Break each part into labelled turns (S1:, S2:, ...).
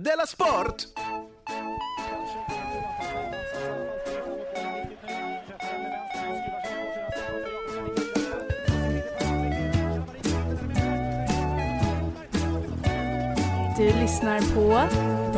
S1: Della Sport!
S2: Du lyssnar på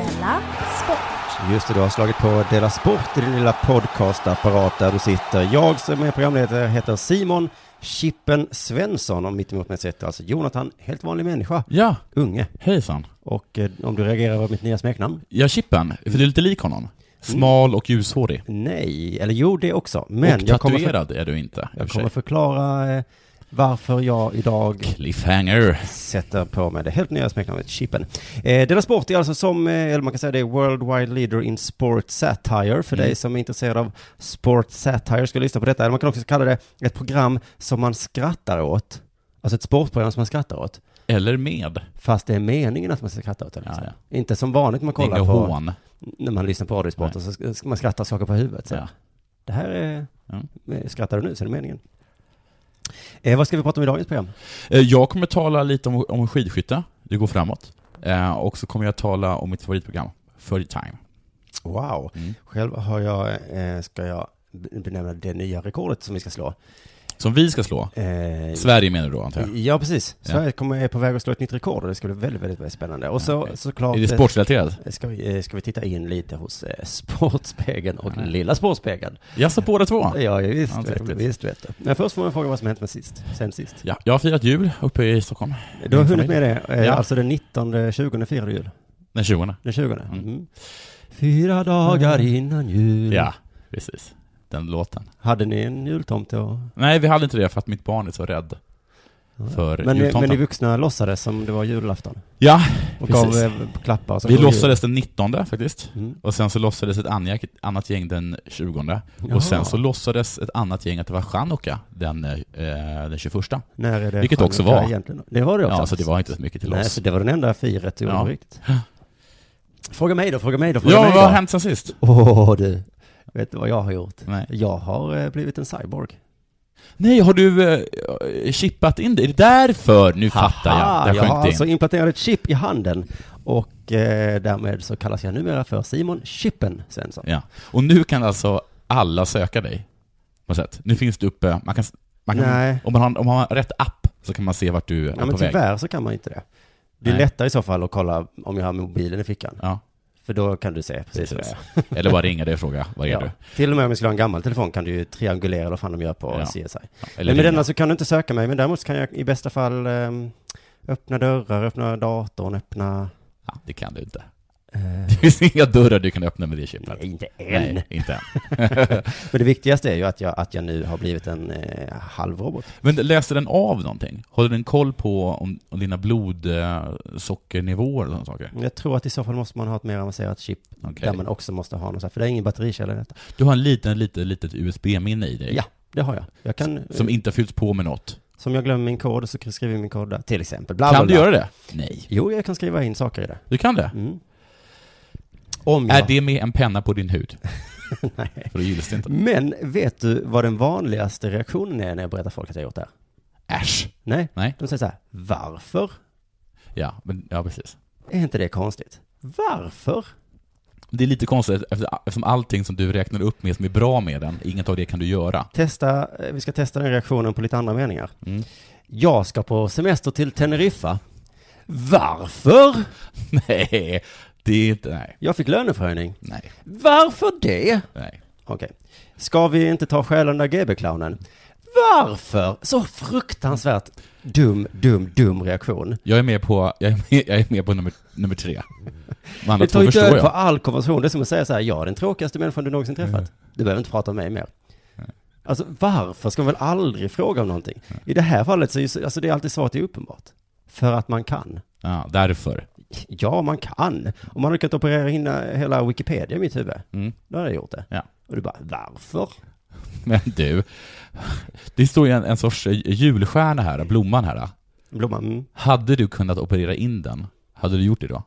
S2: Della Sport.
S3: Just det, du har slagit på Dela Sport i din lilla podcastapparat där du sitter. Jag som är programledare heter Simon Chippen Svensson och mitt emot mig sitter alltså Jonathan, helt vanlig människa,
S4: Ja,
S3: unge.
S4: hejsan.
S3: Och eh, om du reagerar över mitt nya smeknamn?
S4: Ja, Chippen, för du är lite lik honom. Smal och ljushårig.
S3: Nej, eller jo det också. Men
S4: och
S3: jag kommer, för,
S4: tatuerad är du inte. i och
S3: jag
S4: för sig.
S3: kommer förklara eh, varför jag idag
S4: Cliffhanger.
S3: sätter på mig det helt nya smeknamnet Chippen. Eh, Dela Sport är alltså som, eh, eller man kan säga det är worldwide leader in sport satire. För
S4: Mm.
S3: dig som är intresserad av sport satire ska lyssna på detta. Eller man kan också kalla det ett program som man skrattar åt. Alltså ett sportprogram som man skrattar åt.
S4: Eller med.
S3: Fast det är meningen att man ska skratta åt det. Liksom.
S4: Ja,
S3: Inte som vanligt man
S4: Det är
S3: kollar
S4: inga
S3: på,
S4: hån.
S3: när man lyssnar på radiosporten så ska- ska man skratta saker på huvudet. Så.
S4: Ja.
S3: Det här är,
S4: Ja.
S3: skrattar du nu så är det meningen. Eh, vad ska vi prata om i dagens program?
S4: Eh, Jag kommer tala lite om, om skidskytte, det går framåt. Eh, och så kommer jag tala om mitt favoritprogram, Third Time.
S3: Wow.
S4: Mm.
S3: Själv har jag, eh, ska jag b- benämna det nya rekordet som vi ska slå.
S4: Som vi ska slå.
S3: Eh,
S4: Sverige menar du då, antar jag?
S3: ja, precis.
S4: Ja.
S3: Sverige kommer, är på väg att slå ett nytt rekord och det ska bli väldigt, väldigt, väldigt spännande. Och så,
S4: okej.
S3: såklart
S4: Är det
S3: eh,
S4: sportrelaterat?
S3: ska, vi, eh, ska vi titta in lite hos eh, Sportspegeln och Lilla Sportspegeln.
S4: Jaså, båda två?
S3: Ja, ja visst,
S4: Ja,
S3: vet, du,
S4: trevligt.
S3: visst vet du. Men först får man fråga vad som hänt med sist, sen sist.
S4: Ja, jag har firat jul uppe i Stockholm.
S3: Du har
S4: Min
S3: hunnit med
S4: familj.
S3: det, eh,
S4: Ja.
S3: alltså den 19, 20 firade jul.
S4: Den 20.
S3: Den 20. Mm. Fyra dagar innan jul.
S4: Mm. Ja, precis. Den låten.
S3: Hade ni en jultomte och
S4: Nej, vi hade inte det för att mitt barn är så rädd
S3: Men,
S4: för
S3: ni- men
S4: jultomten.
S3: ni vuxna låtsades som det var julafton?
S4: Ja,
S3: Och gav
S4: precis.
S3: eh, klappar? och så
S4: Vi
S3: gav
S4: låtsades den 19 faktiskt.
S3: jul. Mm.
S4: Och sen så låtsades ett anja- annat gäng den 20.
S3: Jaha.
S4: Och sen så låtsades ett annat gäng att det var Chanukka den, eh, den 21.
S3: När är det
S4: Vilket också
S3: chanukka
S4: var.
S3: Egentligen? Det var det också?
S4: Ja, så det var inte så mycket till
S3: Nej,
S4: oss.
S3: så det var den enda firet du gjorde
S4: Ja.
S3: på riktigt? Fråga mig då, fråga mig då, fråga
S4: Ja,
S3: mig
S4: vad
S3: då.
S4: har hänt sen sist?
S3: Åh du, vet du vad jag har gjort?
S4: Nej.
S3: Jag har eh, blivit en cyborg.
S4: Nej, har du eh, chippat in det? Är det därför? Nu fattar
S3: Haha,
S4: jag. Där
S3: har
S4: sjönk det
S3: alltså
S4: in.
S3: implanterat ett chip i handen och eh, därmed så kallas jag numera för Simon Chippen Svensson.
S4: Ja. Och nu kan alltså alla söka dig. På något sätt. Nu finns det uppe, man kan, man kan,
S3: Nej.
S4: om, man har, om man har rätt app så kan man se vart du är
S3: Ja,
S4: på
S3: men
S4: väg.
S3: tyvärr så kan man inte det. Det är
S4: Nej.
S3: lättare i så fall att kolla om jag har mobilen i fickan.
S4: Ja,
S3: För då kan du se precis vad jag
S4: precis.
S3: är.
S4: Eller bara ringa dig och fråga, var är du?
S3: Till och med om jag skulle ha en gammal telefon kan du ju triangulera eller vad fan de gör på
S4: Ja.
S3: CSI.
S4: Eller
S3: Men med
S4: ringa.
S3: denna så kan du inte söka mig, men däremot så kan jag i bästa fall ehm, öppna dörrar, öppna datorn, öppna...
S4: Ja, det kan du inte.
S3: eh,
S4: Det finns inga dörrar du kan öppna med det chipet.
S3: nej, inte än.
S4: Nej, inte än.
S3: Men det viktigaste är ju att jag, att jag nu har blivit en eh, halvrobot.
S4: Men läser den av någonting? Håller den koll på om, om dina blodsockernivåer och sådana saker?
S3: Jag tror att i så fall måste man ha ett mer avancerat chip
S4: Okej.
S3: där man också måste ha någon så här, för det är ingen batterikälla i detta.
S4: Du har en liten, liten, litet USB-minne i dig.
S3: Ja, det har jag. Jag kan...
S4: Som inte har fyllts på med något.
S3: Som jag glömmer min kod så skriver jag min kod där, till exempel. Bla, bla,
S4: Kan du
S3: bla.
S4: göra det? Nej.
S3: Jo, jag kan skriva in saker i det.
S4: Du kan det?
S3: Mm. Om jag...
S4: Är det med en penna på din hud?
S3: Nej.
S4: För då gills det inte.
S3: Men vet du vad den vanligaste reaktionen är när jag berättar för folk att jag har gjort det här?
S4: Äsch!
S3: Nej,
S4: Nej.
S3: de säger så här, varför?
S4: Ja, men, ja, precis.
S3: Är inte det konstigt? Varför?
S4: Det är lite konstigt efter- eftersom allting som du räknar upp med som är bra med den, inget av det kan du göra.
S3: Testa, eh, vi ska testa den reaktionen på lite andra meningar.
S4: Mm.
S3: Jag ska på semester till Teneriffa. Varför?
S4: Nej, det är inte... Nej.
S3: Jag fick löneförhöjning.
S4: Nej.
S3: Varför det?
S4: Nej.
S3: Okej. Ska vi inte ta själen där GB-clownen? Varför? Så fruktansvärt dum, dum, dum reaktion.
S4: Jag är med på, jag är med, jag är med på nummer, nummer tre. De andra
S3: Det tar
S4: två
S3: ju
S4: förstår
S3: död på
S4: jag.
S3: all konversation. Det är som att säga så här, jag är den tråkigaste människan du någonsin
S4: Mm.
S3: träffat. Du behöver inte prata om mig mer. Alltså varför ska man väl aldrig fråga om någonting? I det här fallet så är ju så- alltså, det är alltid svaret är uppenbart. För att man kan.
S4: Ja, därför.
S3: Ja, man kan. Om man hade kunnat operera in hela Wikipedia i mitt huvud,
S4: Mm.
S3: då hade jag gjort det.
S4: Ja.
S3: Och du bara, varför?
S4: Men du, det står ju en, en sorts eh, julstjärna här, blomman här.
S3: Blomman, mm.
S4: Hade du kunnat operera in den, hade du gjort det då?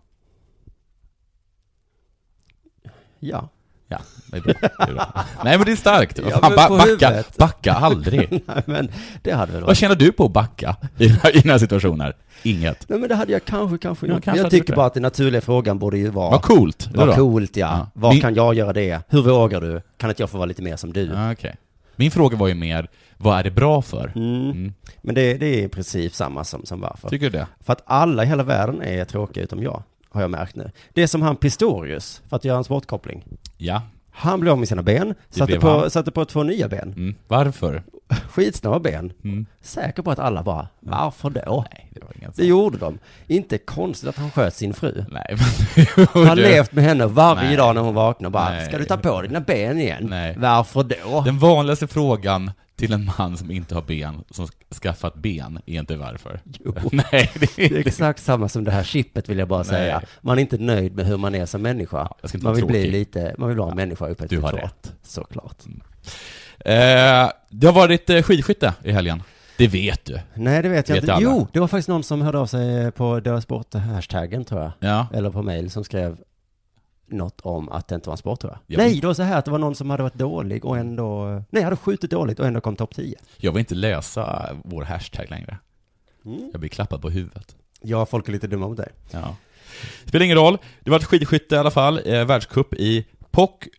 S3: ja.
S4: Ja, det är bra. Det är bra. Nej men det är starkt.
S3: Ja,
S4: Fan,
S3: men
S4: ba-
S3: på
S4: backa,
S3: huvudet.
S4: backa aldrig.
S3: Nej, men det hade väl
S4: Vad
S3: varit...
S4: känner du på att backa i den här- i den här situationen? Inget.
S3: Nej, men det hade jag kanske, kanske
S4: Ja,
S3: gjort.
S4: kanske
S3: jag
S4: hade du
S3: tycker
S4: det.
S3: bara att den naturliga frågan borde ju vara...
S4: Vad coolt. Eller
S3: Vad
S4: då?
S3: coolt ja.
S4: Ja.
S3: Vad
S4: Min-
S3: kan jag göra det? Hur vågar du? Kan inte jag få vara lite mer som du?
S4: Ja, Ah, okej. Min fråga var ju mer, vad är det bra för?
S3: Mm.
S4: Mm.
S3: Men det, det är i princip samma som, som varför.
S4: Tycker du det?
S3: För att alla i hela världen är tråkiga utom jag, har jag märkt nu. Det är som han Pistorius, för att göra en sportkoppling.
S4: Ja.
S3: Han blev av med sina ben, satte
S4: blev
S3: på,
S4: han.
S3: satte på två nya ben.
S4: Mm. Varför?
S3: Skitsnabba ben.
S4: Mm.
S3: Säker på att alla bara, varför då?
S4: Nej, det var ingen
S3: Det gjorde de. Inte konstigt att han sköt sin fru.
S4: Nej, men...
S3: Han har levt med henne varje
S4: Nej.
S3: dag när hon vaknar och bara,
S4: Nej.
S3: ska du ta på dig dina ben igen?
S4: Nej.
S3: Varför då?
S4: Den vanligaste frågan till en man som inte har ben, som skaffat ben, är inte varför.
S3: Jo.
S4: Nej, det är
S3: Det är
S4: inte...
S3: exakt samma som det här chippet vill jag bara säga.
S4: Nej.
S3: Man är inte nöjd med hur man är som människa.
S4: jag ska inte
S3: man
S4: vara
S3: vill bli
S4: tråkig.
S3: lite, man vill vara en människa uppe
S4: Du
S3: till
S4: har
S3: två.
S4: rätt.
S3: Såklart.
S4: Eh, det har varit eh, skidskytte i helgen. Det vet du.
S3: Nej, det vet jag
S4: Vet
S3: inte.
S4: alla.
S3: Jo, det var faktiskt någon som hörde av sig på deras sport-hashtaggen tror jag.
S4: Ja.
S3: Eller på mail som skrev något om att det inte var en sport tror jag.
S4: Ja.
S3: Nej, det var så här att det var någon som hade varit dålig och ändå, nej, hade skjutit dåligt och ändå kom topp 10.
S4: Jag vill inte läsa vår hashtag längre.
S3: Mm.
S4: Jag blir klappad på huvudet.
S3: Ja, folk är lite dumma mot dig.
S4: Ja. Spelar ingen roll. Det var ett skidskytte i alla fall, eh, världscup i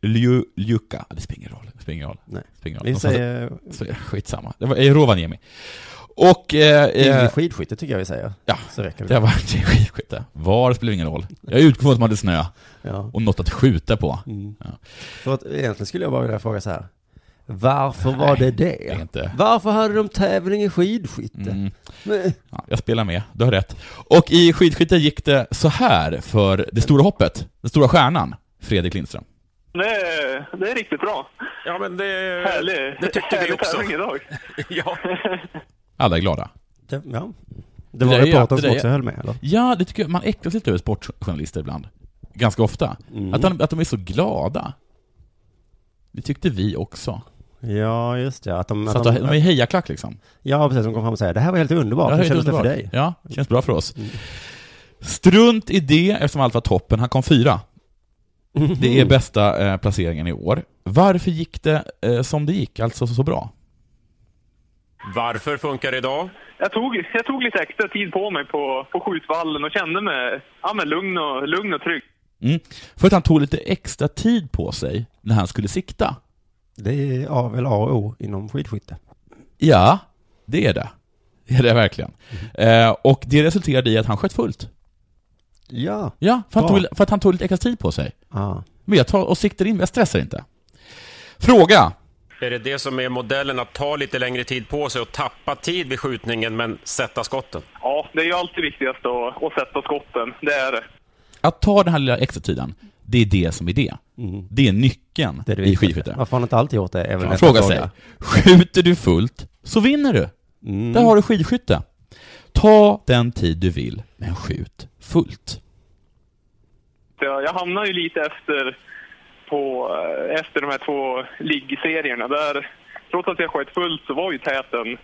S4: Pokljuka. Det spelar ingen roll. Det spelar ingen roll.
S3: Nej.
S4: Det spelar ingen roll.
S3: Vi
S4: De fanns-
S3: säger,
S4: så- Skitsamma. Det var i Rovaniemi. Och... Eh,
S3: i
S4: eh,
S3: skidskytte tycker jag vi säger.
S4: ja,
S3: Så räcker
S4: det
S3: det.
S4: har varit i skidskytte. Var spelar ingen roll. Jag utgår från att man hade snö
S3: Ja.
S4: och något att skjuta på.
S3: Mm.
S4: Ja.
S3: För att egentligen skulle jag bara vilja fråga så här. Varför var det
S4: Det är
S3: det?
S4: inte...
S3: Varför hade de tävling i skidskytte?
S4: Mm.
S3: Men-
S4: Ja, jag spelar med, du har rätt. Och i skidskytte gick det så här för det stora hoppet, den stora stjärnan, Fredrik Lindström.
S1: Det är, det är riktigt bra.
S5: Ja, men det,
S1: Härlig,
S5: det tyckte vi
S1: härlig
S5: också.
S1: tävling idag.
S5: Ja.
S4: Alla är glada.
S3: Det, ja. det var
S4: där är-
S3: reportern som
S4: det där är-
S3: också höll med eller?
S4: Ja, det tycker jag, man äcklas lite över sportjournalister ibland. Ganska ofta. Att, de, att de är så glada. Det tyckte vi också.
S3: Ja, just det. Att de,
S4: Så
S3: att
S4: att de, de är
S3: de,
S4: i hejaklack liksom.
S3: ja, precis. De kom fram och sa det här var helt underbart. Hur
S4: helt
S3: kändes det för
S4: underbart.
S3: dig?
S4: Ja, det känns bra Mm. för oss. Strunt i det, eftersom allt var toppen. Han kom fyra. Det är bästa eh, placeringen i år. Varför gick det eh, som det gick, alltså så, så bra?
S5: Varför funkar det idag?
S1: Jag tog, jag tog lite extra tid på mig på, på skjutvallen och kände mig ja, men lugn, och, lugn och trygg.
S4: Mm. För att han tog lite extra tid på sig när han skulle sikta.
S3: Det är A, väl A och O inom skidskytte.
S4: Ja, det är det. Det är det verkligen. Eh, och det resulterade i att han sköt fullt.
S3: Ja.
S4: Ja, för, han
S3: Bra.
S4: tog, för att han tog lite extra tid på sig.
S3: Ah.
S4: Men jag tar och siktar in, jag stressar inte. Fråga.
S5: Är det det som är modellen, att ta lite längre tid på sig och tappa tid vid skjutningen men sätta skotten?
S1: Ja, det är ju alltid viktigast att, att sätta skotten. Det är det.
S4: Att ta den här lilla extra tiden, det är det som är det. Det är nyckeln
S3: Mm. Det är det
S4: i
S3: viktigaste.
S4: skidskytte.
S3: Varför har han inte alltid gjort det? Är väl nästa
S4: Fråga sig. Skjuter du fullt, så vinner du.
S3: Mm.
S4: Där har du skidskytte. Ta den tid du vill, men skjut fullt.
S1: Så Jag, jag hamnade ju lite efter, på, eh, efter de här två liggserierna. Där, trots att jag sköt fullt så var ju täten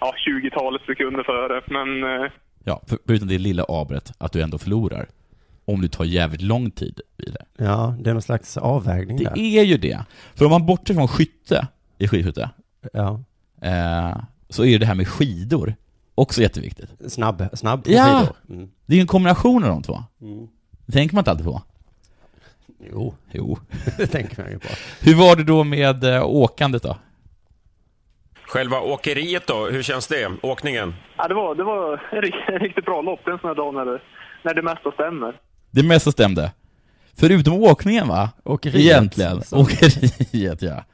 S1: ja, 20-talet sekunder före. Men eh,
S4: Ja, för- förutom det lilla abret att du ändå förlorar. Om du tar jävligt lång tid i det.
S3: Ja, det är någon slags avvägning
S4: Det
S3: där.
S4: är ju det. För om man bortser från skytte i skidskytte,
S3: Ja.
S4: eh, så är ju det här med skidor också jätteviktigt.
S3: Snabb, snabb på
S4: Ja.
S3: skidor. Mm.
S4: Det är ju en kombination av de två. Det tänker man inte alltid på.
S3: Jo,
S4: Jo.
S3: det tänker man ju på.
S4: Hur var det då med eh, åkandet då?
S5: Själva åkeriet då, hur känns det? Åkningen?
S1: ja, det var, det var en ri- en riktigt bra lopp en sån här dag när det, när det mesta stämmer.
S4: Det mesta stämde. Förutom åkningen va?
S3: Åkeriet.
S4: Egentligen.
S3: Så-
S4: Åkeriet ja.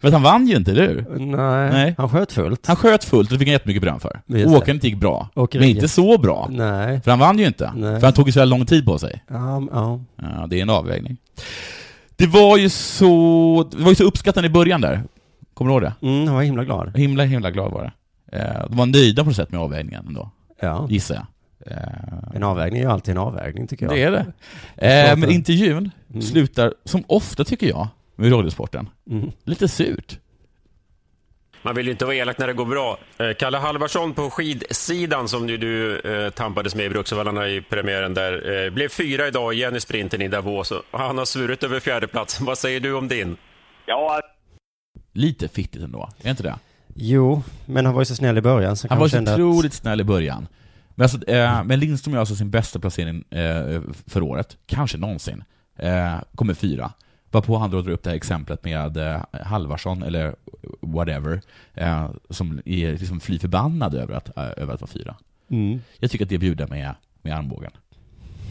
S4: För att han vann ju inte, eller hur?
S3: Nej,
S4: Nej.
S3: han sköt fullt.
S4: Han sköt fullt och det fick han jättemycket beröm för.
S3: Just det.
S4: Åkandet gick bra,
S3: Åkeriet.
S4: men inte så bra.
S3: Nej.
S4: För han vann ju inte.
S3: Nej.
S4: För han tog ju så här lång tid på sig.
S3: Ja, m- ja.
S4: Ja, det är en avvägning. Det var ju så, det var ju så uppskattande i början där. Kommer du ihåg det?
S3: Mm, han var himla glad.
S4: Himla, himla glad var det. Eh, De var nöjda på något sätt med avvägningen ändå,
S3: Ja.
S4: gissar jag. Eh,
S3: En avvägning är ju alltid en avvägning tycker jag.
S4: Det är det. Eh, Men
S3: Pratar. Mm.
S4: intervjun slutar, som ofta tycker jag, med radiosporten,
S3: Mm.
S4: lite surt.
S5: Man vill ju inte vara elak när det går bra. Eh, Kalle Halvarsson på skidsidan som ju du eh, tampades med i Bruksvallarna i premiären där, eh, blev fyra idag igen i sprinten i Davos och han har svurit över fjärdeplatsen. Vad säger du om din?
S1: Ja,
S4: Lite fittigt ändå, är inte det?
S3: Jo, men han var ju så snäll i början. Så
S4: Han
S3: kanske
S4: var så
S3: kände att-
S4: otroligt snäll i början. Men, alltså, eh, men Lindström gör alltså sin bästa placering eh, för året, kanske någonsin. Eh, kommer fyra. Varpå han då drar upp det här exemplet med eh, Halvarsson, eller whatever, eh, som är liksom fly förbannad över att, eh, över att vara fyra.
S3: Mm.
S4: Jag tycker att det bjuder med, med armbågen.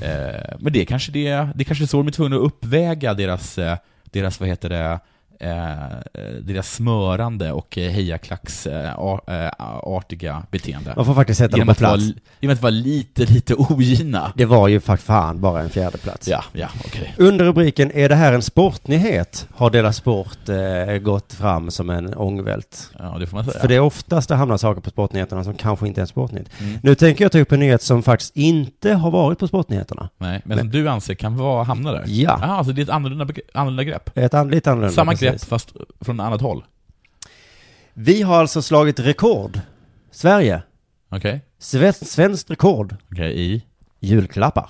S4: Eh, men det är kanske det, det är kanske så de är tvungna att uppväga deras, eh, deras vad heter det, eh, eh, deras smörande och eh, hejaklacks eh, a- eh, artiga beteende.
S3: Man får faktiskt sätta dem
S4: Genom
S3: på
S4: att, vara,
S3: plats.
S4: genom att vara lite, lite ogina.
S3: Det var ju för fan bara en fjärde plats.
S4: Ja, ja, okej.
S3: Under rubriken Är det här en sportnyhet? har Dela Sport eh, gått fram som en ångvält.
S4: Ja, det får man säga.
S3: För det är oftast det hamnar saker på sportnyheterna som kanske inte är en sportnyhet.
S4: Mm.
S3: Nu tänker jag ta upp en nyhet som faktiskt inte har varit på sportnyheterna.
S4: Nej, men som du anser kan vara, hamna där?
S3: Ja.
S4: Ah, alltså det är ett annorlunda, begre- annorlunda grepp?
S3: Ett an, lite annorlunda.
S4: Samma
S3: precis.
S4: grepp fast från annat håll?
S3: Vi har alltså slagit rekord. Sverige.
S4: Okej?
S3: Sven- Svenskt rekord.
S4: Okej, i?
S3: Julklappar.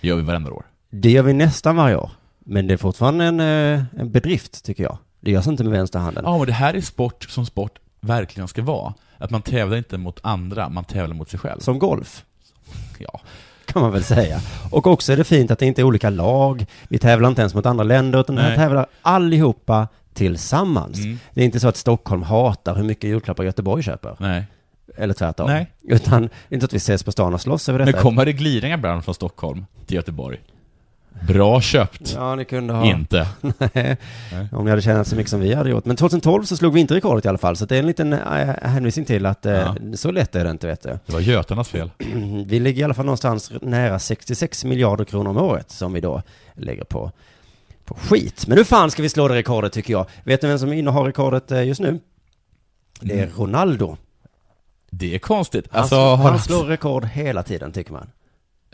S4: Gör vi varenda år?
S3: Det gör vi nästan varje år. Men det är fortfarande en, eh, en bedrift, tycker jag. Det görs inte med vänsterhanden.
S4: Ja, men det här är sport som sport verkligen ska vara. Att man tävlar inte mot andra, man tävlar mot sig själv.
S3: Som golf,
S4: Ja.
S3: kan man väl säga. Och också är det fint att det inte är olika lag. Vi tävlar inte ens mot andra länder, utan vi
S4: Nej. Mm.
S3: tävlar allihopa tillsammans. Det är inte så att Stockholm hatar hur mycket julklappar Göteborg köper.
S4: Nej.
S3: Eller tvärtom.
S4: Nej.
S3: Utan, inte att vi ses på stan och slåss över
S4: Nu
S3: detta.
S4: kommer det gliringar ibland från Stockholm till Göteborg. Bra köpt.
S3: Ja, ni kunde ha...
S4: Inte.
S3: Nej. Om ni hade tjänat så mycket som vi hade gjort. Men 2012 så slog vi inte rekordet i alla fall, så det är en liten eh, hänvisning till att eh,
S4: Ja.
S3: så lätt är det inte, vet du.
S4: Det var Götarnas fel.
S3: Mm, Vi ligger i alla fall någonstans nära 66 miljarder kronor om året som vi då lägger på, på skit. Men hur fan ska vi slå det rekordet tycker jag? Vet ni vem som innehar rekordet eh, just nu? Det är Ronaldo.
S4: Det är konstigt.
S3: Han,
S4: Mm. Alltså,
S3: slår,
S4: har
S3: han
S4: han,
S3: slår rekord hela tiden tycker man.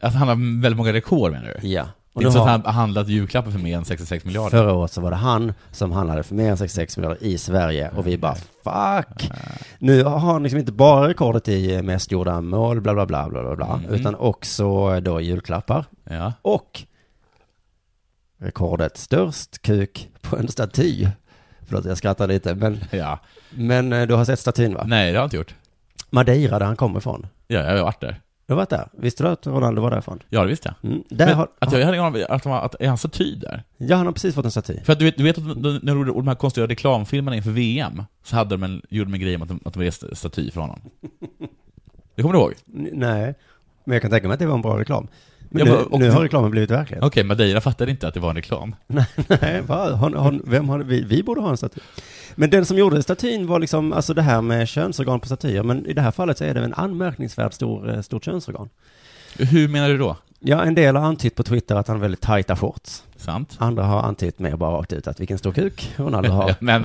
S4: att han har väldigt många rekord menar du?
S3: Ja.
S4: Det
S3: Och
S4: är
S3: nu
S4: inte så att
S3: har,
S4: han har handlat julklappar för mer än 66 miljarder.
S3: förra året så var det han som handlade för mer än 66 miljarder i Sverige och vi bara fuck. Nu har han liksom inte bara rekordet i mest gjorda mål, bla bla bla bla bla, bla
S4: Mm.
S3: utan också då julklappar.
S4: Ja.
S3: Och rekordet störst kuk på en staty. Förlåt, jag skrattar lite. Men,
S4: ja.
S3: men eh, du har sett statyn va?
S4: Nej, det har jag inte gjort.
S3: Madeira, där han kommer ifrån.
S4: Ja, jag har varit där.
S3: Du har varit där? Visste du att Ronaldo var därifrån?
S4: Ja, det visste jag.
S3: Mm. Där
S4: Men
S3: har,
S4: att jag hade ingen aning om att, han var- att, är han så tyd där?
S3: Ja, han har precis fått en staty.
S4: För att du vet, du vet att de- de- när de gjorde de här konstiga reklamfilmerna inför VM, så hade de en, gjorde de en grej om att de, att de reste staty för honom. Det kommer du ihåg?
S3: N- nej, men jag kan tänka mig att det var en bra reklam. Men
S4: Ja,
S3: nu,
S4: men- och-
S3: nu har reklamen blivit verklighet.
S4: Okej, Madeira fattade inte att det var en reklam.
S3: Nej, va? Har, har, vem har, vi, vi borde ha en staty. Men den som gjorde statyn var liksom, alltså det här med könsorgan på statyer, men i det här fallet så är det en anmärkningsvärt stor, eh, stort könsorgan.
S4: Hur menar du då?
S3: Ja, en del har antytt på Twitter att han har väldigt tajta shorts.
S4: Sant?
S3: Andra har antytt mer bara rakt ut att vilken stor kuk Ronaldo har.
S4: Men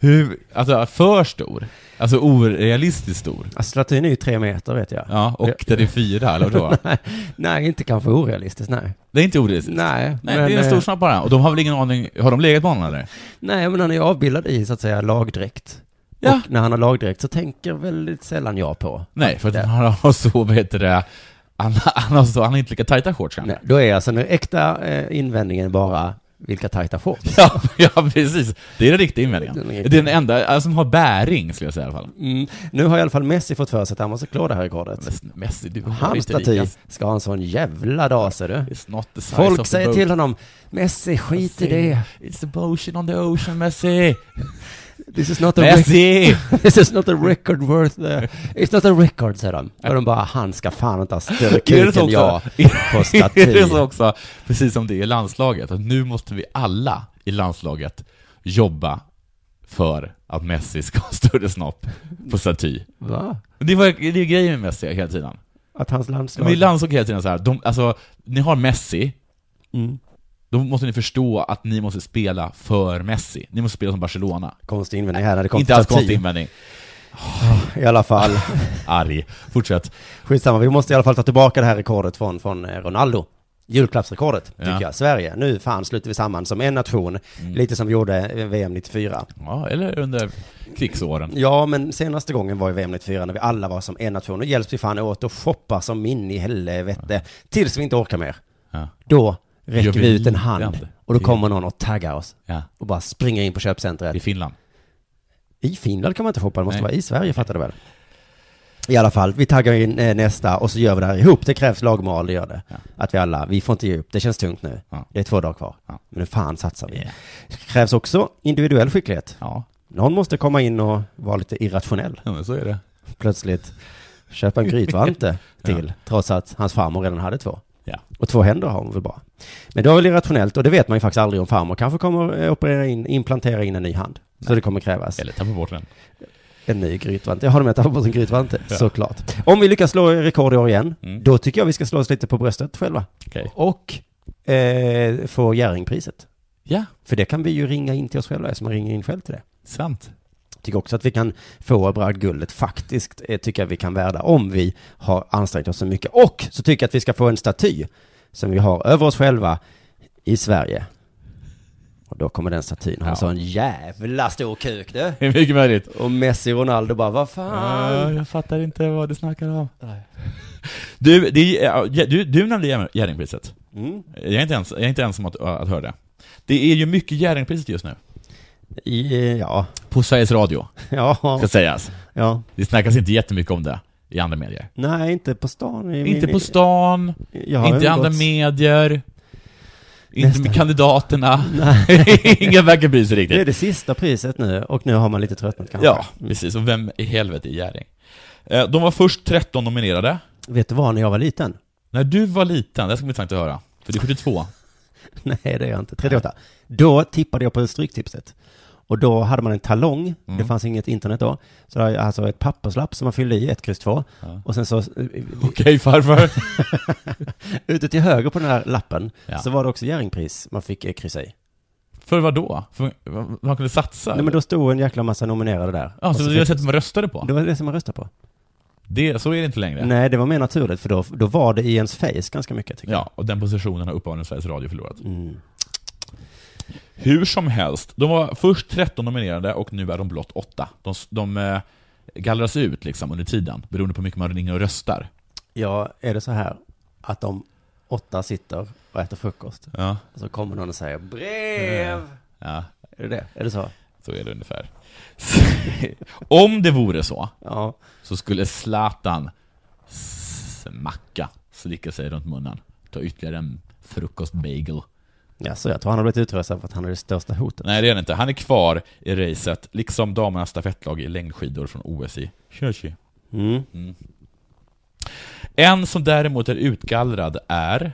S4: hur, alltså för stor? Alltså orealistiskt stor?
S3: Alltså, statyn är ju tre meter vet jag.
S4: Ja, och där det är fyra, eller vadå?
S3: Nej, inte kanske orealistiskt, nej.
S4: Det är inte orealistiskt.
S3: Nej,
S4: Nej, det är en
S3: eh,
S4: stor snabb bara. Och de har väl ingen aning, har de legat med honom eller?
S3: nej, men han är ju avbildad i så att säga lagdräkt.
S4: Ja.
S3: Och när han har lagdräkt så tänker väldigt sällan jag på.
S4: Nej, för att han har så, vad heter det, han, han, har så, han har inte lika tajta shorts kanske.
S3: Nej, då är alltså den äkta eh, invändningen bara vilka tajta shorts.
S4: Ja, ja, precis. Det är den riktiga invändningen.
S3: Den är
S4: Det
S3: riktig.
S4: är den enda alltså, som har bäring, skulle jag säga i alla fall.
S3: Mm. Nu har i alla fall Messi fått för sig att han måste klå det här rekordet.
S4: Men Messi, du har
S3: Hans
S4: inte lika...
S3: staty ska ha en sån jävla dag ser du.
S4: It's not the size of
S3: Folk
S4: the
S3: säger
S4: boat.
S3: till honom, Messi skit i det.
S4: It's the motion on the ocean, Messi!
S3: This is not a record,
S4: Messi!
S3: this is not a record worth the, It's not a record, säger de. Och de bara, han ska fan inte ha större
S4: Är det
S3: kuk
S4: så
S3: än jag
S4: också?
S3: på
S4: Är det så
S3: staty.
S4: också, precis som det är i landslaget, att nu måste vi alla i landslaget jobba för att Messi ska ha större snopp på staty.
S3: Va?
S4: Det, var, det är ju grejen med Messi hela tiden.
S3: Att hans
S4: Men i
S3: landslag...
S4: landslaget hela tiden så här, de, alltså, ni har Messi,
S3: Mm.
S4: då måste ni förstå att ni måste spela för Messi. Ni måste spela som Barcelona.
S3: Konstig invändning här när det kom
S4: Inte
S3: till
S4: alls konstig
S3: staty.
S4: invändning.
S3: I alla fall.
S4: Arg. Fortsätt.
S3: Skitsamma, vi måste i alla fall ta tillbaka det här rekordet från, från eh, Ronaldo. julklappsrekordet, tycker
S4: Ja. Mm.
S3: jag. Sverige, nu fan sluter vi samman som en nation, lite som vi gjorde VM 94.
S4: Ja, eller under krigsåren.
S3: Ja, men senaste gången var ju VM 94 när vi alla var som en nation. och hjälps vi fan åt och shoppar som in i helvete, tills vi inte orkar mer.
S4: Ja.
S3: Då räcker
S4: Gör vi
S3: vi ut en
S4: lidande.
S3: hand och då kommer någon och taggar oss
S4: Ja.
S3: och bara springer in på
S4: I
S3: köpcentret.
S4: Finland.
S3: I Finland kan man inte shoppa, det måste
S4: Nej.
S3: vara i Sverige, fattar du väl? I alla fall, vi taggar in eh, nästa och så gör vi det här ihop. Det krävs lagmoral, det gör det.
S4: Ja.
S3: Att vi alla, vi får inte ge upp, det känns tungt nu.
S4: Ja.
S3: Det är två dagar kvar.
S4: Ja.
S3: Men nu fan satsar vi. Det krävs också individuell skicklighet.
S4: Ja,
S3: Någon måste komma in och vara lite irrationell.
S4: ja, men så är det.
S3: plötsligt köpa en grytvante till, trots att hans farmor redan hade två.
S4: Ja.
S3: Och två händer har hon väl bara. Men det var väl irrationellt, och det vet man ju faktiskt aldrig om farmor kanske kommer eh, operera in, implantera in en ny hand. Så det kommer krävas
S4: Eller tappa bort den.
S3: en ny grytvante. Jag har de med tappat bort en grytvante, såklart. Om vi lyckas slå rekord i år igen,
S4: Mm.
S3: då tycker jag vi ska slå oss lite på bröstet själva.
S4: Okej.
S3: Och eh, få Jerringpriset.
S4: Ja,
S3: För det kan vi ju ringa in till oss själva, eftersom man ringer in själv till det.
S4: sant.
S3: tycker också att vi kan få Bragdguldet faktiskt, eh, tycker jag vi kan värda om vi har ansträngt oss så mycket. Och så tycker jag att vi ska få en staty som vi har över oss själva i Sverige. Och då kommer den statyn ha
S4: Ja.
S3: en sån jävla stor kuk du.
S4: Det är mycket möjligt.
S3: Och Messi och Ronaldo bara, vad fan.
S4: jag fattar inte vad du snackar om. Du, det, är- ja, du, du nämnde Gär- Jerringpriset.
S3: Mm.
S4: Jag är inte ens, jag är inte ens om att, att höra det. Det är ju mycket Jerringpriset just nu.
S3: I, ja,
S4: På Sveriges Radio,
S3: ja,
S4: ska sägas.
S3: ja.
S4: Det snackas inte jättemycket om det i andra medier.
S3: Nej, inte på stan. I
S4: Inte
S3: min-
S4: på stan,
S3: Jag har
S4: inte i andra
S3: umgåtts-
S4: medier, inte
S3: Nästan.
S4: med kandidaterna. Ingen verkar bry sig
S3: Det är
S4: riktigt.
S3: det sista priset nu och nu har man lite tröttnat kanske.
S4: Ja, precis. Och vem i helvete är Jerring? Eh, De var först 13 nominerade.
S3: Vet du vad, när jag var liten?
S4: När du var liten, det ska bli intressant att höra, för du är 72.
S3: Nej, det är jag inte. 38. Då tippade jag på Stryktipset. Och då hade man en talong,
S4: Mm.
S3: det fanns inget internet då. Så det var alltså ett papperslapp som man fyllde i, ett kryss två. Och sen så, eh,
S4: Okej farfar.
S3: ute till höger på den här lappen,
S4: Ja.
S3: så var det också Jerringpris man fick eh, kryssa i.
S4: För vad då? För vad man kunde satsa?
S3: Nej men då Alltså, stod en jäkla massa nominerade där.
S4: ja,
S3: Och
S4: så
S3: så
S4: det var
S3: fick-
S4: sättet man röstade på?
S3: det var det som man röstade på.
S4: Det, så är det inte längre.
S3: Nej, det var mer naturligt, för då, då var det i ens face ganska mycket tycker
S4: Ja, och den positionen har uppenbarligen Sveriges Radio förlorat.
S3: jag. Mm.
S4: Hur som helst, de var först 13 nominerade och nu är de blott 8. De, de eh, gallras ut liksom under tiden, beroende på hur mycket man ringer och röstar.
S3: Ja, är det så här att de åtta sitter och äter frukost,
S4: Ja,
S3: och så kommer någon och säger brev.
S4: ja
S3: Är det det? Är det så?
S4: så är det ungefär. Om det vore så,
S3: Ja.
S4: så skulle Zlatan smacka, slicka sig runt munnen, ta ytterligare en frukostbagel.
S3: Ja, så jag tror han har blivit utröstad för att han är det största hotet.
S4: Nej, det är han inte. Han är kvar i racet, liksom damernas stafettlag i längdskidor från OS i Sochi.
S3: Mm.
S4: En som däremot är utgallrad är...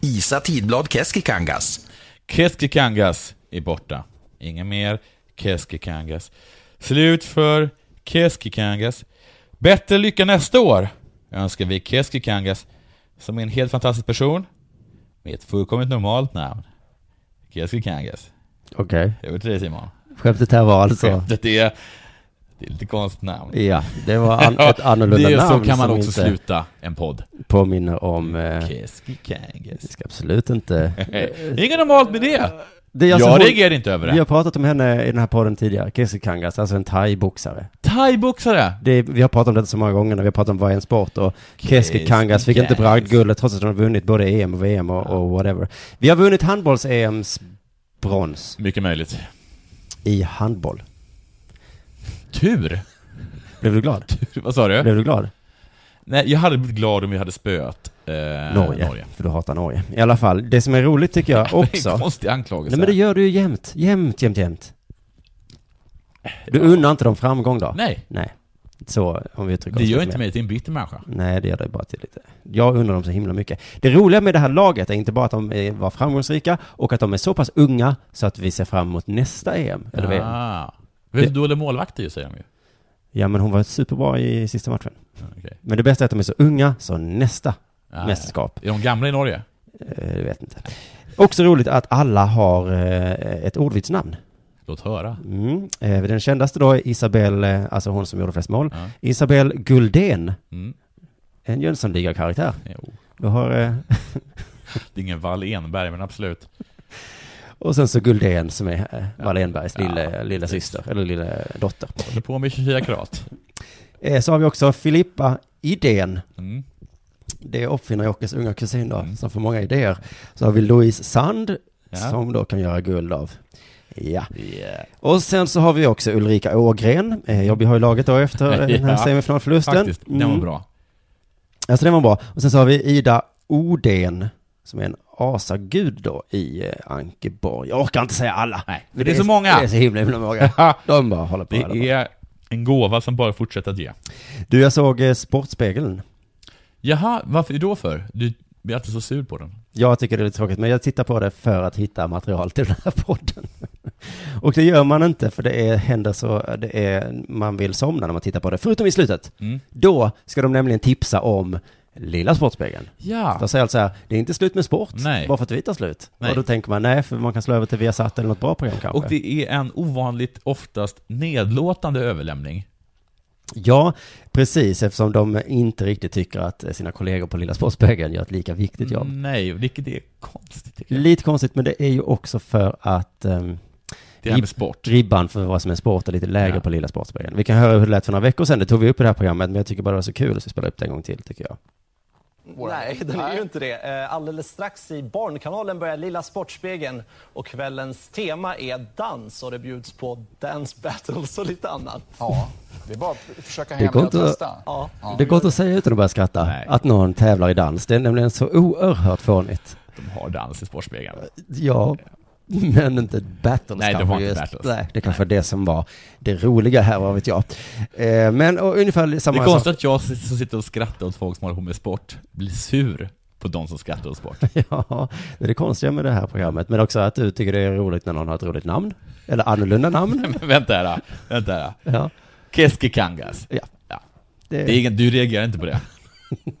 S6: Isa Tidblad Keskikangas.
S4: Keskikangas är borta. Inga mer Keskikangas. Slut för Keskikangas. Bättre lycka nästa år önskar vi Keskikangas, som är en helt fantastisk person med ett fullkomligt normalt namn. Keskikangas.
S3: Okej.
S4: Över till dig Simon.
S3: Skämtet här var alltså...
S4: Skämtet är... Det är lite konstigt namn.
S3: Ja, det var an- ett annorlunda
S4: det är
S3: namn
S4: så kan man
S3: som
S4: också
S3: inte
S4: sluta en podd.
S3: påminner om... Eh, vi
S4: Keskikangas.
S3: ska absolut inte...
S4: Eh, Inget normalt med det.
S3: Det är alltså
S4: Jag
S3: hon-
S4: reagerar inte över
S3: Vi har
S4: det.
S3: pratat om henne i den här podden tidigare, Kessie Kangas, alltså en thai-boxare.
S4: Thaiboxare.
S3: Det är- Vi har pratat om detta så många gånger när vi har pratat om vad är en sport och Kessie
S4: Kessie
S3: Kangas fick inte
S4: Kangas.
S3: bragdguldet trots att hon har vunnit både EM och VM och, och whatever. Vi har vunnit handbolls-EMs brons
S4: Mycket möjligt.
S3: i handboll.
S4: Tur.
S3: Blev du glad?
S4: Vad sa du?
S3: Blev du glad?
S4: Eh, Nej, jag hade blivit glad om vi hade spöat eh,
S3: Norge, För du hatar Norge. I alla fall, det som är roligt tycker jag
S4: Det är en
S3: också.
S4: konstig anklagelse.
S3: Nej men det gör du ju jämt. Jämt, jämt, jämt. Du unnar inte dem framgång då?
S4: Nej,
S3: Nej. Så, om vi uttrycker
S4: det
S3: oss
S4: gör
S3: lite
S4: inte
S3: mer.
S4: mig till en bitter människa.
S3: Nej, det gör det bara till lite. Jag undrar dem så himla mycket. Det roliga med det här laget är inte bara att de eh, var framgångsrika och att de är så pass unga så att vi ser fram emot nästa EM. Eller VM.
S4: ah. Vi är
S3: Det-
S4: dåliga målvakter ju, säger de ju.
S3: Ja, men hon var superbra i sista matchen.
S4: Ja, okej.
S3: Men det bästa är att de är så unga, så nästa
S4: Ah,
S3: mästerskap
S4: Är de gamla i Norge?
S3: Eh, Jag vet inte. Också roligt att alla har eh, ett ordvitsnamn.
S4: Låt höra.
S3: Mm. Eh, Den kändaste då är Isabel, eh, alltså hon som gjorde flest mål.
S4: Ja.
S3: Isabel Guldén.
S4: Mm.
S3: en Jönssonliga-karaktär.
S4: Jo.
S3: Du har, eh,
S4: Det är ingen Wall Enberg, men absolut.
S3: och sen så Guldén som är eh, Wallenbergs
S4: Ja.
S3: lilla, lilla syster, eller lilla dotter.
S4: Håller på med 24 karat.
S3: Eh, så har vi också Filippa Idén.
S4: Mm.
S3: Det är uppfinnar-Jockes unga kusin då, som får många idéer. Så har vi Louise Sand,
S4: Ja.
S3: som då kan göra guld av. Ja.
S4: Yeah.
S3: Och sen så har vi också Ulrika Ågren. Eh, jag har ju laget då efter eh, den här
S4: Ja.
S3: semifinalförlusten.
S4: Faktiskt, den var
S3: Mm.
S4: bra.
S3: Alltså den var bra. Och sen så har vi Ida Oden som är en asagud då i eh, Ankeborg. Jag orkar inte säga alla.
S4: Nej,
S3: Men
S4: det är så många.
S3: Det är så himla, himla många. De bara håller på. håller på.
S4: Det är en gåva som bara fortsätter att ge.
S3: Du, jag såg eh, Sportspegeln.
S4: Jaha, varför då för? Du blir alltid så sur på den.
S3: Jag tycker det är lite tråkigt, men jag tittar på det för att hitta material till den här podden. Och det gör man inte, för det är, händer så, det är, man vill somna när man tittar på det, förutom i slutet.
S4: Mm.
S3: Då ska de nämligen tipsa om Lilla Sportspegeln.
S4: Ja.
S3: De säger alltså så här, det är inte slut med sport,
S4: Nej.
S3: bara för att vi tar slut.
S4: Nej.
S3: Och då tänker man, nej, för man kan slå över till Viasat eller något bra program kanske.
S4: Och det är en ovanligt oftast nedlåtande överlämning.
S3: Ja, precis, eftersom de inte riktigt tycker att sina kollegor på Lilla Sportspegeln gör ett lika viktigt jobb.
S4: Nej, vilket är konstigt tycker jag.
S3: Lite konstigt, men det är ju också för att ehm,
S4: Det här med sport.
S3: ribban för vad som är sport är lite lägre
S4: Ja.
S3: på Lilla Sportspegeln. Vi kan höra hur det lät för några veckor sedan, det tog vi upp i det här programmet, men jag tycker bara det var så kul så vi spelar upp det en gång till, tycker jag.
S7: Nej, den är ju inte det. Eh, Alldeles strax i Barnkanalen börjar Lilla Sportspegeln och kvällens tema är dans och det bjuds på dance battles och lite annat.
S8: Ja, det är bara att försöka
S3: Det
S8: hänga
S3: går
S8: med och
S3: inte att-
S8: testa.
S7: Ja.
S3: Det är gott att säga utan att börja skratta,
S4: Nej.
S3: att någon tävlar i dans. Det är nämligen så oerhört fånigt.
S4: De har dans i Sportspegeln.
S3: Ja, men inte battles
S4: Nej, det
S3: kanske
S4: var inte
S3: just.
S4: battles.
S3: Nej, det kanske var det som var det roliga här, vad vet jag. Eh, men alltså- och ungefär
S4: Det
S3: samma
S4: är
S3: sak.
S4: konstigt att jag som sitter och skrattar åt folk som håller på med sport blir sur på de som skrattar åt sport.
S3: Ja, det är det konstiga med det här programmet. Men också att du tycker det är roligt när någon har ett roligt namn. Eller annorlunda namn.
S4: Men vänta här, vänta här.
S3: Ja,
S4: Keski Kangas.
S3: ja.
S4: Ja.
S3: Det,
S4: Det är ingen, du reagerar inte på det?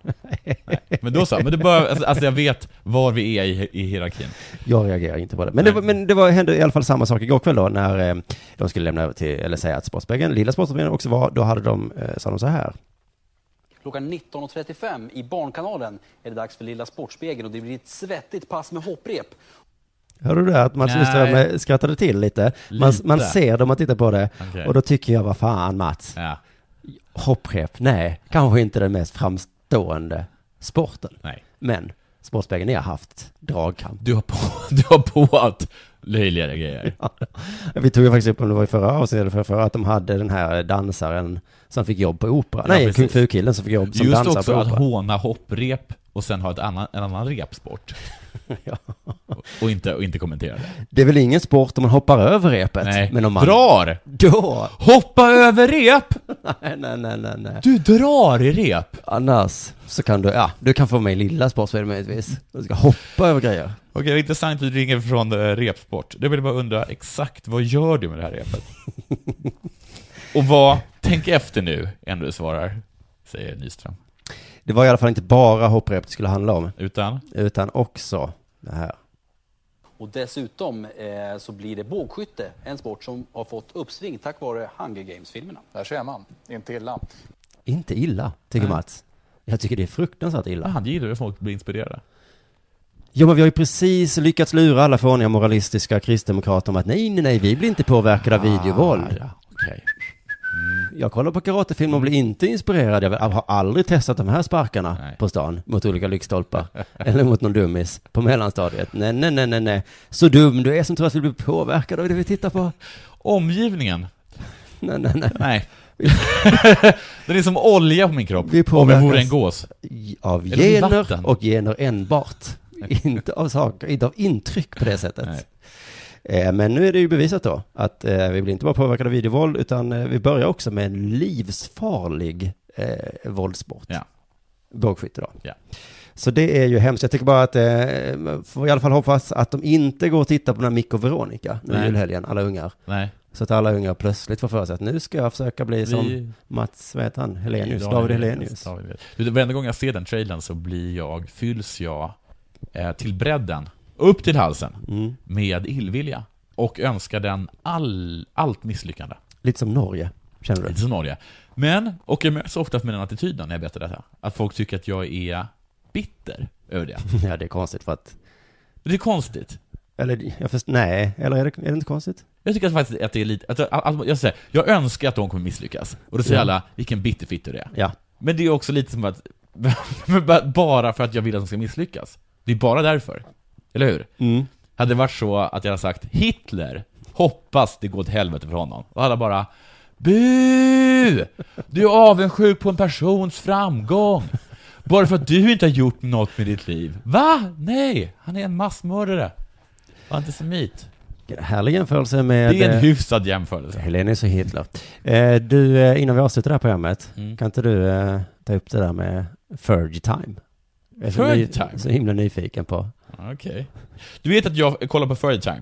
S4: Nej. Men då så, men det bör, alltså, alltså jag vet var vi är i, i hierarkin.
S3: Jag reagerar inte på det. Men det, var, men det var, hände i alla fall samma sak igår kväll då när eh, de skulle lämna över till, eller säga att Sportspegeln, lilla Sportspegeln också var, då hade de, eh, sa de så här.
S9: Klockan 19.35 i Barnkanalen är det dags för Lilla Sportspegeln och det blir ett svettigt pass med hopprep.
S3: Hörde du det? Att Mats
S4: Nej.
S3: Nyström skrattade till lite. Man,
S4: Lite.
S3: man ser dem att titta på det.
S4: Okej.
S3: Och då tycker jag, vad fan Mats,
S4: Ja,
S3: hopprep, nej, kanske inte den mest framstående sporten.
S4: nej.
S3: Men Sportspegeln, ni har haft dragkamp.
S4: Du har på, du har på att löjligare grejer.
S3: Vi tog ju faktiskt upp, om det var i förra avsnittet eller förra, förra, att de hade den här dansaren som fick jobb på opera.
S4: Ja,
S3: Nej,
S4: precis.
S3: Kung Fu-killen som fick jobb som
S4: Just
S3: dansare
S4: också
S3: på
S4: att
S3: opera.
S4: håna hopprep och sen ha ett annan, en annan repsport.
S3: Ja.
S4: Och inte, och inte kommentera det.
S3: Det är väl ingen sport om man hoppar över repet?
S4: Nej.
S3: Men om man...
S4: Drar!
S3: Då!
S4: Hoppa över rep!
S3: Nej, nej, nej, nej, nej.
S4: Du drar i rep!
S3: Annars så kan du, ja, du kan få mig lilla sportspegeln möjligtvis. Du ska hoppa över grejer.
S4: Okej, det är intressant att du ringer från eh, repsport. Jag vill bara undra, exakt vad gör du med det här repet? Och vad, tänk efter nu, innan du svarar, säger Nyström.
S3: Det var i alla fall inte bara hopprep det skulle handla om,
S4: Utan?
S3: utan också det här.
S9: Och dessutom eh, så blir det bågskytte, en sport som har fått uppsving tack vare Hunger Games-filmerna.
S8: Där ser man, inte illa.
S3: Inte illa, tycker Mats. Jag tycker det är fruktansvärt illa.
S4: Han gillar ju att folk blir inspirerade.
S3: Ja, men vi har ju precis lyckats lura alla fåniga moralistiska kristdemokrater om att nej, nej, nej, vi blir inte påverkade av videovåld.
S4: Ah, ja, okej.
S3: Jag kollar på karatefilmer och blir inte inspirerad. Jag har aldrig testat de här sparkarna
S4: Nej.
S3: på stan mot olika lyktstolpar eller mot någon dummis på mellanstadiet. Nej, nej, nej, nej, nej. Så dum du är som tror att vi blir påverkade av det vi tittar på.
S4: Omgivningen?
S3: Nej, nej, nej.
S4: Nej. Den är som olja på min kropp,
S3: Vi
S4: om jag
S3: påverkas.
S4: vore en gås.
S3: Av
S4: Eller i
S3: gener
S4: vatten.
S3: och gener enbart. inte av saker, inte av intryck på det sättet.
S4: Nej.
S3: Eh, Men nu är det ju bevisat då att eh, vi blir inte bara påverkade av videovåld utan eh, vi börjar också med en livsfarlig eh, våldssport.
S4: Ja.
S3: Bågskytte då.
S4: Ja.
S3: Så det är ju hemskt. Jag tycker bara att, eh, man får i alla fall hoppas att de inte går och tittar på den här Mick och Veronica nu i
S4: Nej.
S3: julhelgen, alla ungar.
S4: Nej.
S3: Så att alla ungar plötsligt får för sig att nu ska jag försöka bli som
S4: Vi-
S3: Mats, vad heter han, Helenius,
S4: Ja,
S3: David
S4: det är-
S3: Helenius.
S4: David Helenius. Du, Varenda gång jag ser den trailern så blir jag, fylls jag eh, till bredden, upp till halsen, med illvilja. Och önskar den all, allt misslyckande.
S3: Lite som Norge. Känner du?
S4: Lite som Norge. Men, och jag möts oftast med den attityden när jag berättar detta. Att folk tycker att jag är bitter över det.
S3: Ja, det är konstigt för att...
S4: Det är konstigt.
S3: Eller, jag först, nej, eller är det, är det inte konstigt?
S4: Jag tycker faktiskt att det är lite, att, att, att, jag, säger, jag önskar att de kommer misslyckas. Och då säger alla, vilken bitterfitt du är.
S3: Ja.
S4: Men det är också lite som att, men ba- bara för att jag vill att de ska misslyckas. Det är bara därför. Eller hur? Hade det varit så att jag hade sagt Hitler, hoppas det går åt helvete för honom. Och alla bara Bu! Du är avundsjuk på en persons framgång. Bara för att du inte har gjort något med ditt liv. Va? Nej! Han är en massmördare. Och antisemit.
S3: Härlig jämförelse med...
S4: Det är en
S3: eh,
S4: hyfsad jämförelse.
S3: Helenius och Hitler. Eh, du, eh, innan vi avslutar det här programmet, kan inte du eh, ta upp det där med Fergie Time? Jag är så
S4: Fergie
S3: ny-
S4: Time?
S3: Så himla nyfiken på.
S4: Okej. Du vet att jag kollar på Furry Time?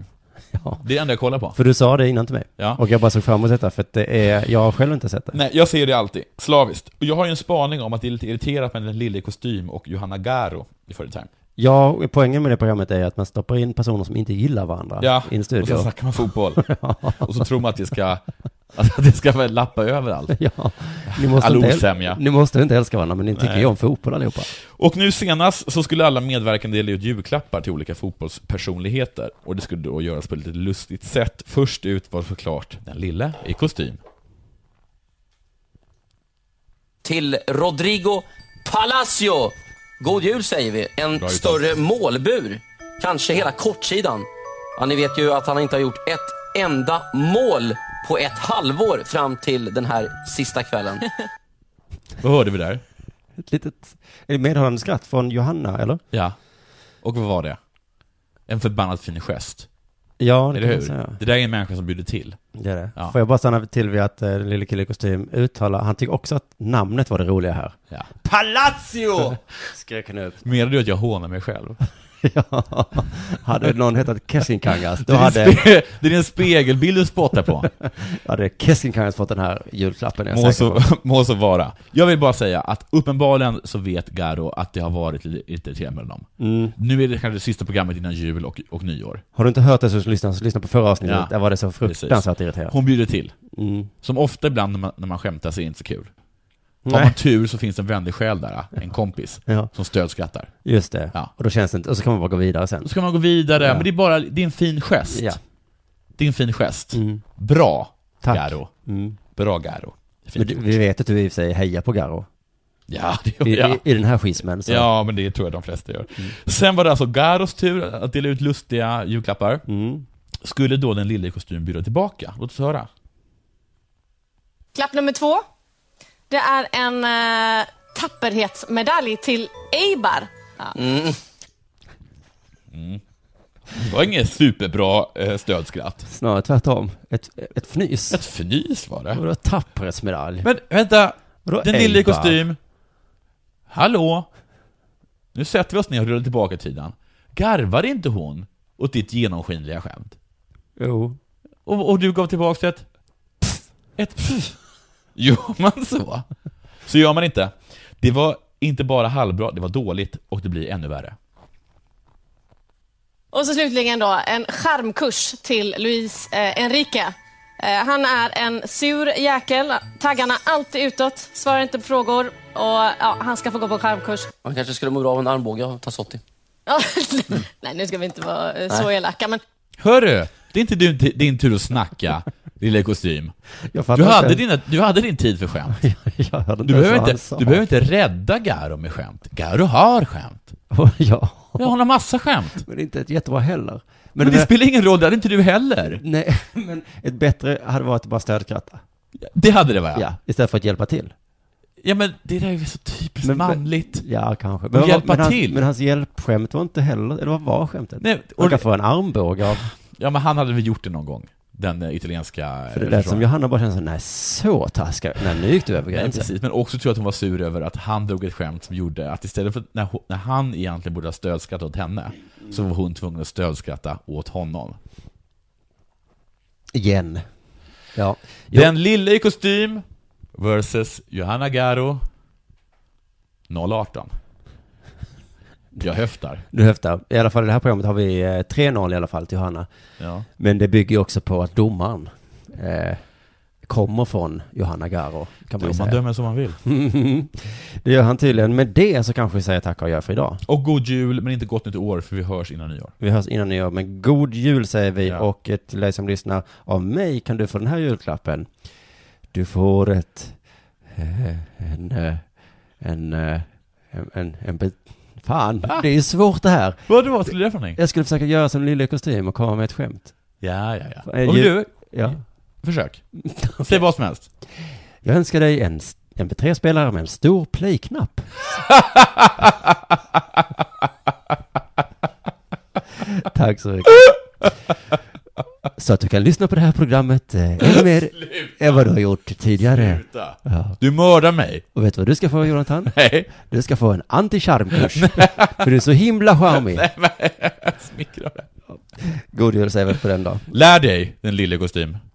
S3: Ja.
S4: Det är det enda jag kollar på.
S3: För du sa det innan till mig.
S4: Ja.
S3: Och jag bara såg fram emot detta, för att det är, jag har själv inte sett det.
S4: Nej, jag ser det alltid. Slaviskt. Och jag har ju en spaning om att det är lite irriterat med den lille i kostym och Johanna Garo i Furry Time.
S3: Ja, och poängen med det programmet är att man stoppar in personer som inte gillar varandra
S4: Ja,
S3: i en
S4: och
S3: studio.
S4: sen snackar man fotboll. Och så tror man att det ska, att det ska väl lappa över allt.
S3: Ja, ni måste,
S4: All
S3: inte,
S4: osämja.
S3: äl- ni måste inte älska varandra, men ni tycker
S4: Nej.
S3: ju om fotboll allihopa.
S4: Och nu senast så skulle alla medverkande dela ut julklappar till olika fotbollspersonligheter. Och det skulle då göras på ett lite lustigt sätt. Först ut var såklart den lille i kostym.
S10: till Rodrigo Palacio. God jul säger vi. En
S4: Bra uttalat.
S10: större målbur. Kanske hela kortsidan. Ja, ni vet ju att han inte har gjort ett enda mål på ett halvår fram till den här sista kvällen.
S4: Vad hörde vi där?
S3: Ett litet är det medhållande skratt från Johanna, eller?
S4: Ja. Och vad var det? En förbannat fin gest.
S3: Ja, det
S4: Eller
S3: kan man
S4: hur?
S3: säga.
S4: Det där är en människa som bjuder till.
S3: Det är det.
S4: Ja.
S3: Får jag bara stanna till vid att eh, den lille killen i kostym uttalar, han tycker också att namnet var det roliga här.
S4: Ja.
S3: Palacio! Skrek han upp.
S4: Menar du att jag hånar mig själv?
S3: ja. Hade någon hetat Kessinkangas, då
S4: Det är, en
S3: hade,
S4: spe- det är en spegelbild du spottar på.
S3: hade Kessinkangas fått den här julklappen, är jag
S4: Må
S3: säker på.
S4: så, må så vara. Jag vill bara säga att uppenbarligen så vet Garo att det har varit lite irriterande mellan dem.
S3: Mm.
S4: Nu är det kanske det sista programmet innan jul och, och nyår.
S3: Har du inte hört det så lyssna, så lyssna på förra avsnittet,
S4: Ja.
S3: där var det så fruktansvärt
S4: Precis.
S3: irriterande.
S4: Hon bjuder till.
S3: Mm.
S4: Som ofta ibland när man, när man skämtar så är det inte så kul. Har man
S3: Nej,
S4: tur så finns det en vänlig själ där, en kompis,
S3: Ja.
S4: som stödskrattar.
S3: just det.
S4: Ja.
S3: Och då känns det inte, och så kan man bara gå vidare
S4: Då
S3: sen.
S4: ska man gå vidare, men det är bara, det är en fin gest.
S3: Ja. Mm.
S4: Det är en fin gest. Bra,
S3: Tack.
S4: Garo.
S3: Mm.
S4: Bra, Garo.
S3: Men
S4: Fint
S3: du,
S4: gjort.
S3: vi vet att du i och för sig hejar på Garo.
S4: Ja, det
S3: I,
S4: ja.
S3: i, i den här schismen. Så.
S4: Ja, men det tror jag de flesta gör.
S3: Mm.
S4: Sen var det alltså Garos tur att dela ut lustiga julklappar.
S3: Mm.
S4: Skulle då den lilla i kostym bjuda tillbaka? Låt oss höra.
S2: Klapp nummer två. Det är en eh, tapperhetsmedalj till Eibar.
S4: Det var inget superbra eh, stödskratt.
S3: Snarare tvärtom. Ett, ett fnys.
S4: Ett fnys var det.
S3: Vadå tapperhetsmedalj?
S4: Men vänta,
S3: Vadå
S4: den lilla i
S3: Eibar?
S4: kostym. Hallå? Nu sätter vi oss ner och rullar tillbaka tiden. Garvade inte hon åt ditt genomskinliga skämt?
S3: Jo.
S4: Och, och du gav tillbaka ett... pff, Ett pff. Gör man så? Så gör man inte. Det var inte bara halvbra, det var dåligt och det blir ännu värre.
S2: Och så slutligen då en charmkurs till Luis eh, Enrique. Eh, han är en sur jäkel, taggarna alltid utåt, svarar inte på frågor och ja, han ska få gå på charmkurs.
S10: Man kanske skulle må bra av en armbåge av Tassotti.
S2: Ja, Nej, nu ska vi inte vara eh, så elaka, men
S4: Hörru! Det är inte din, din tur att snacka, lilla i kostym.
S3: Jag fattar
S4: Du hade,
S3: inte.
S4: dina, du hade din tid för skämt.
S3: Jag hörde
S4: Du
S3: ens
S4: behöver,
S3: vad han
S4: inte,
S3: sa.
S4: du behöver inte rädda Garo med skämt. Garo har skämt.
S3: ja.
S4: Ja, hon har massa skämt.
S3: Men det är inte ett jättebra heller.
S4: Men
S3: det-
S4: det spelar ingen roll, det hade inte du heller.
S3: Nej, men ett bättre hade varit att bara stödkratta.
S4: Det hade det
S3: Ja.
S4: va?
S3: Istället för att hjälpa till.
S4: Ja, men det där är ju så typiskt
S3: Men-
S4: manligt.
S3: Ja, kanske. Men,
S4: Och
S3: vad-
S4: hjälpa
S3: men, hans,
S4: till.
S3: men hans hjälpskämt var inte heller, eller vad var skämtet?
S4: Nej,
S3: Man
S4: och-
S3: kan få en armbåge av,
S4: Ja men han hade väl gjort det någon gång, den eh, italienska...
S3: för det lät som Johanna bara kände så nej så taskig, nej nu gick du över
S4: Nej,
S3: gränsen.
S4: precis, men också tror jag att hon var sur över att han drog ett skämt som gjorde att istället för att när, hon- när han egentligen borde ha stödskrattat åt henne, så var hon tvungen att stödskratta åt honom.
S3: Igen. Ja. Jo,
S4: Den lille i kostym versus Johanna Garo 018. Jag höftar.
S3: du höftar. I alla fall i det här programmet har vi eh, 3-0 i alla fall till Johanna.
S4: Ja.
S3: Men det bygger ju också på att domaren eh, kommer från Johanna Garo. Kan man,
S4: Jo,
S3: ju
S4: man
S3: säga.
S4: dömer som man vill.
S3: det gör han tydligen. Med det så kanske vi säger tack och gör för idag.
S4: Och god jul, men inte gott nytt år, för vi hörs innan nyår.
S3: Vi hörs innan nyår, men god jul säger vi. Och till dig som lyssnar, av mig kan du få den här julklappen. Du får ett... eh, En... eh, En... eh, En... En... en bit. Fan,
S4: Va?
S3: det är svårt det här.
S4: Vad vad skulle du göra för någonting?
S3: Jag skulle försöka göra som Lille i kostym och komma med ett skämt.
S4: Ja, ja, ja.
S3: Eh,
S4: Om
S3: ju-
S4: du,
S3: Ja.
S4: försök. Säg vad som helst.
S3: Jag önskar dig en MP3-spelare med en stor play-knapp. Tack så mycket. Så att du kan lyssna på det här programmet eh, ännu mer än vad du har gjort tidigare.
S4: Sluta.
S3: Ja.
S4: Du mördar mig.
S3: Och vet du vad du ska få, Jonathan?
S4: Nej.
S3: Du ska få en anti-charmkurs. För du är så himla charmig.
S4: Smickrar.
S3: God jul säger vi på den dagen.
S4: Lär dig, den lille kostym.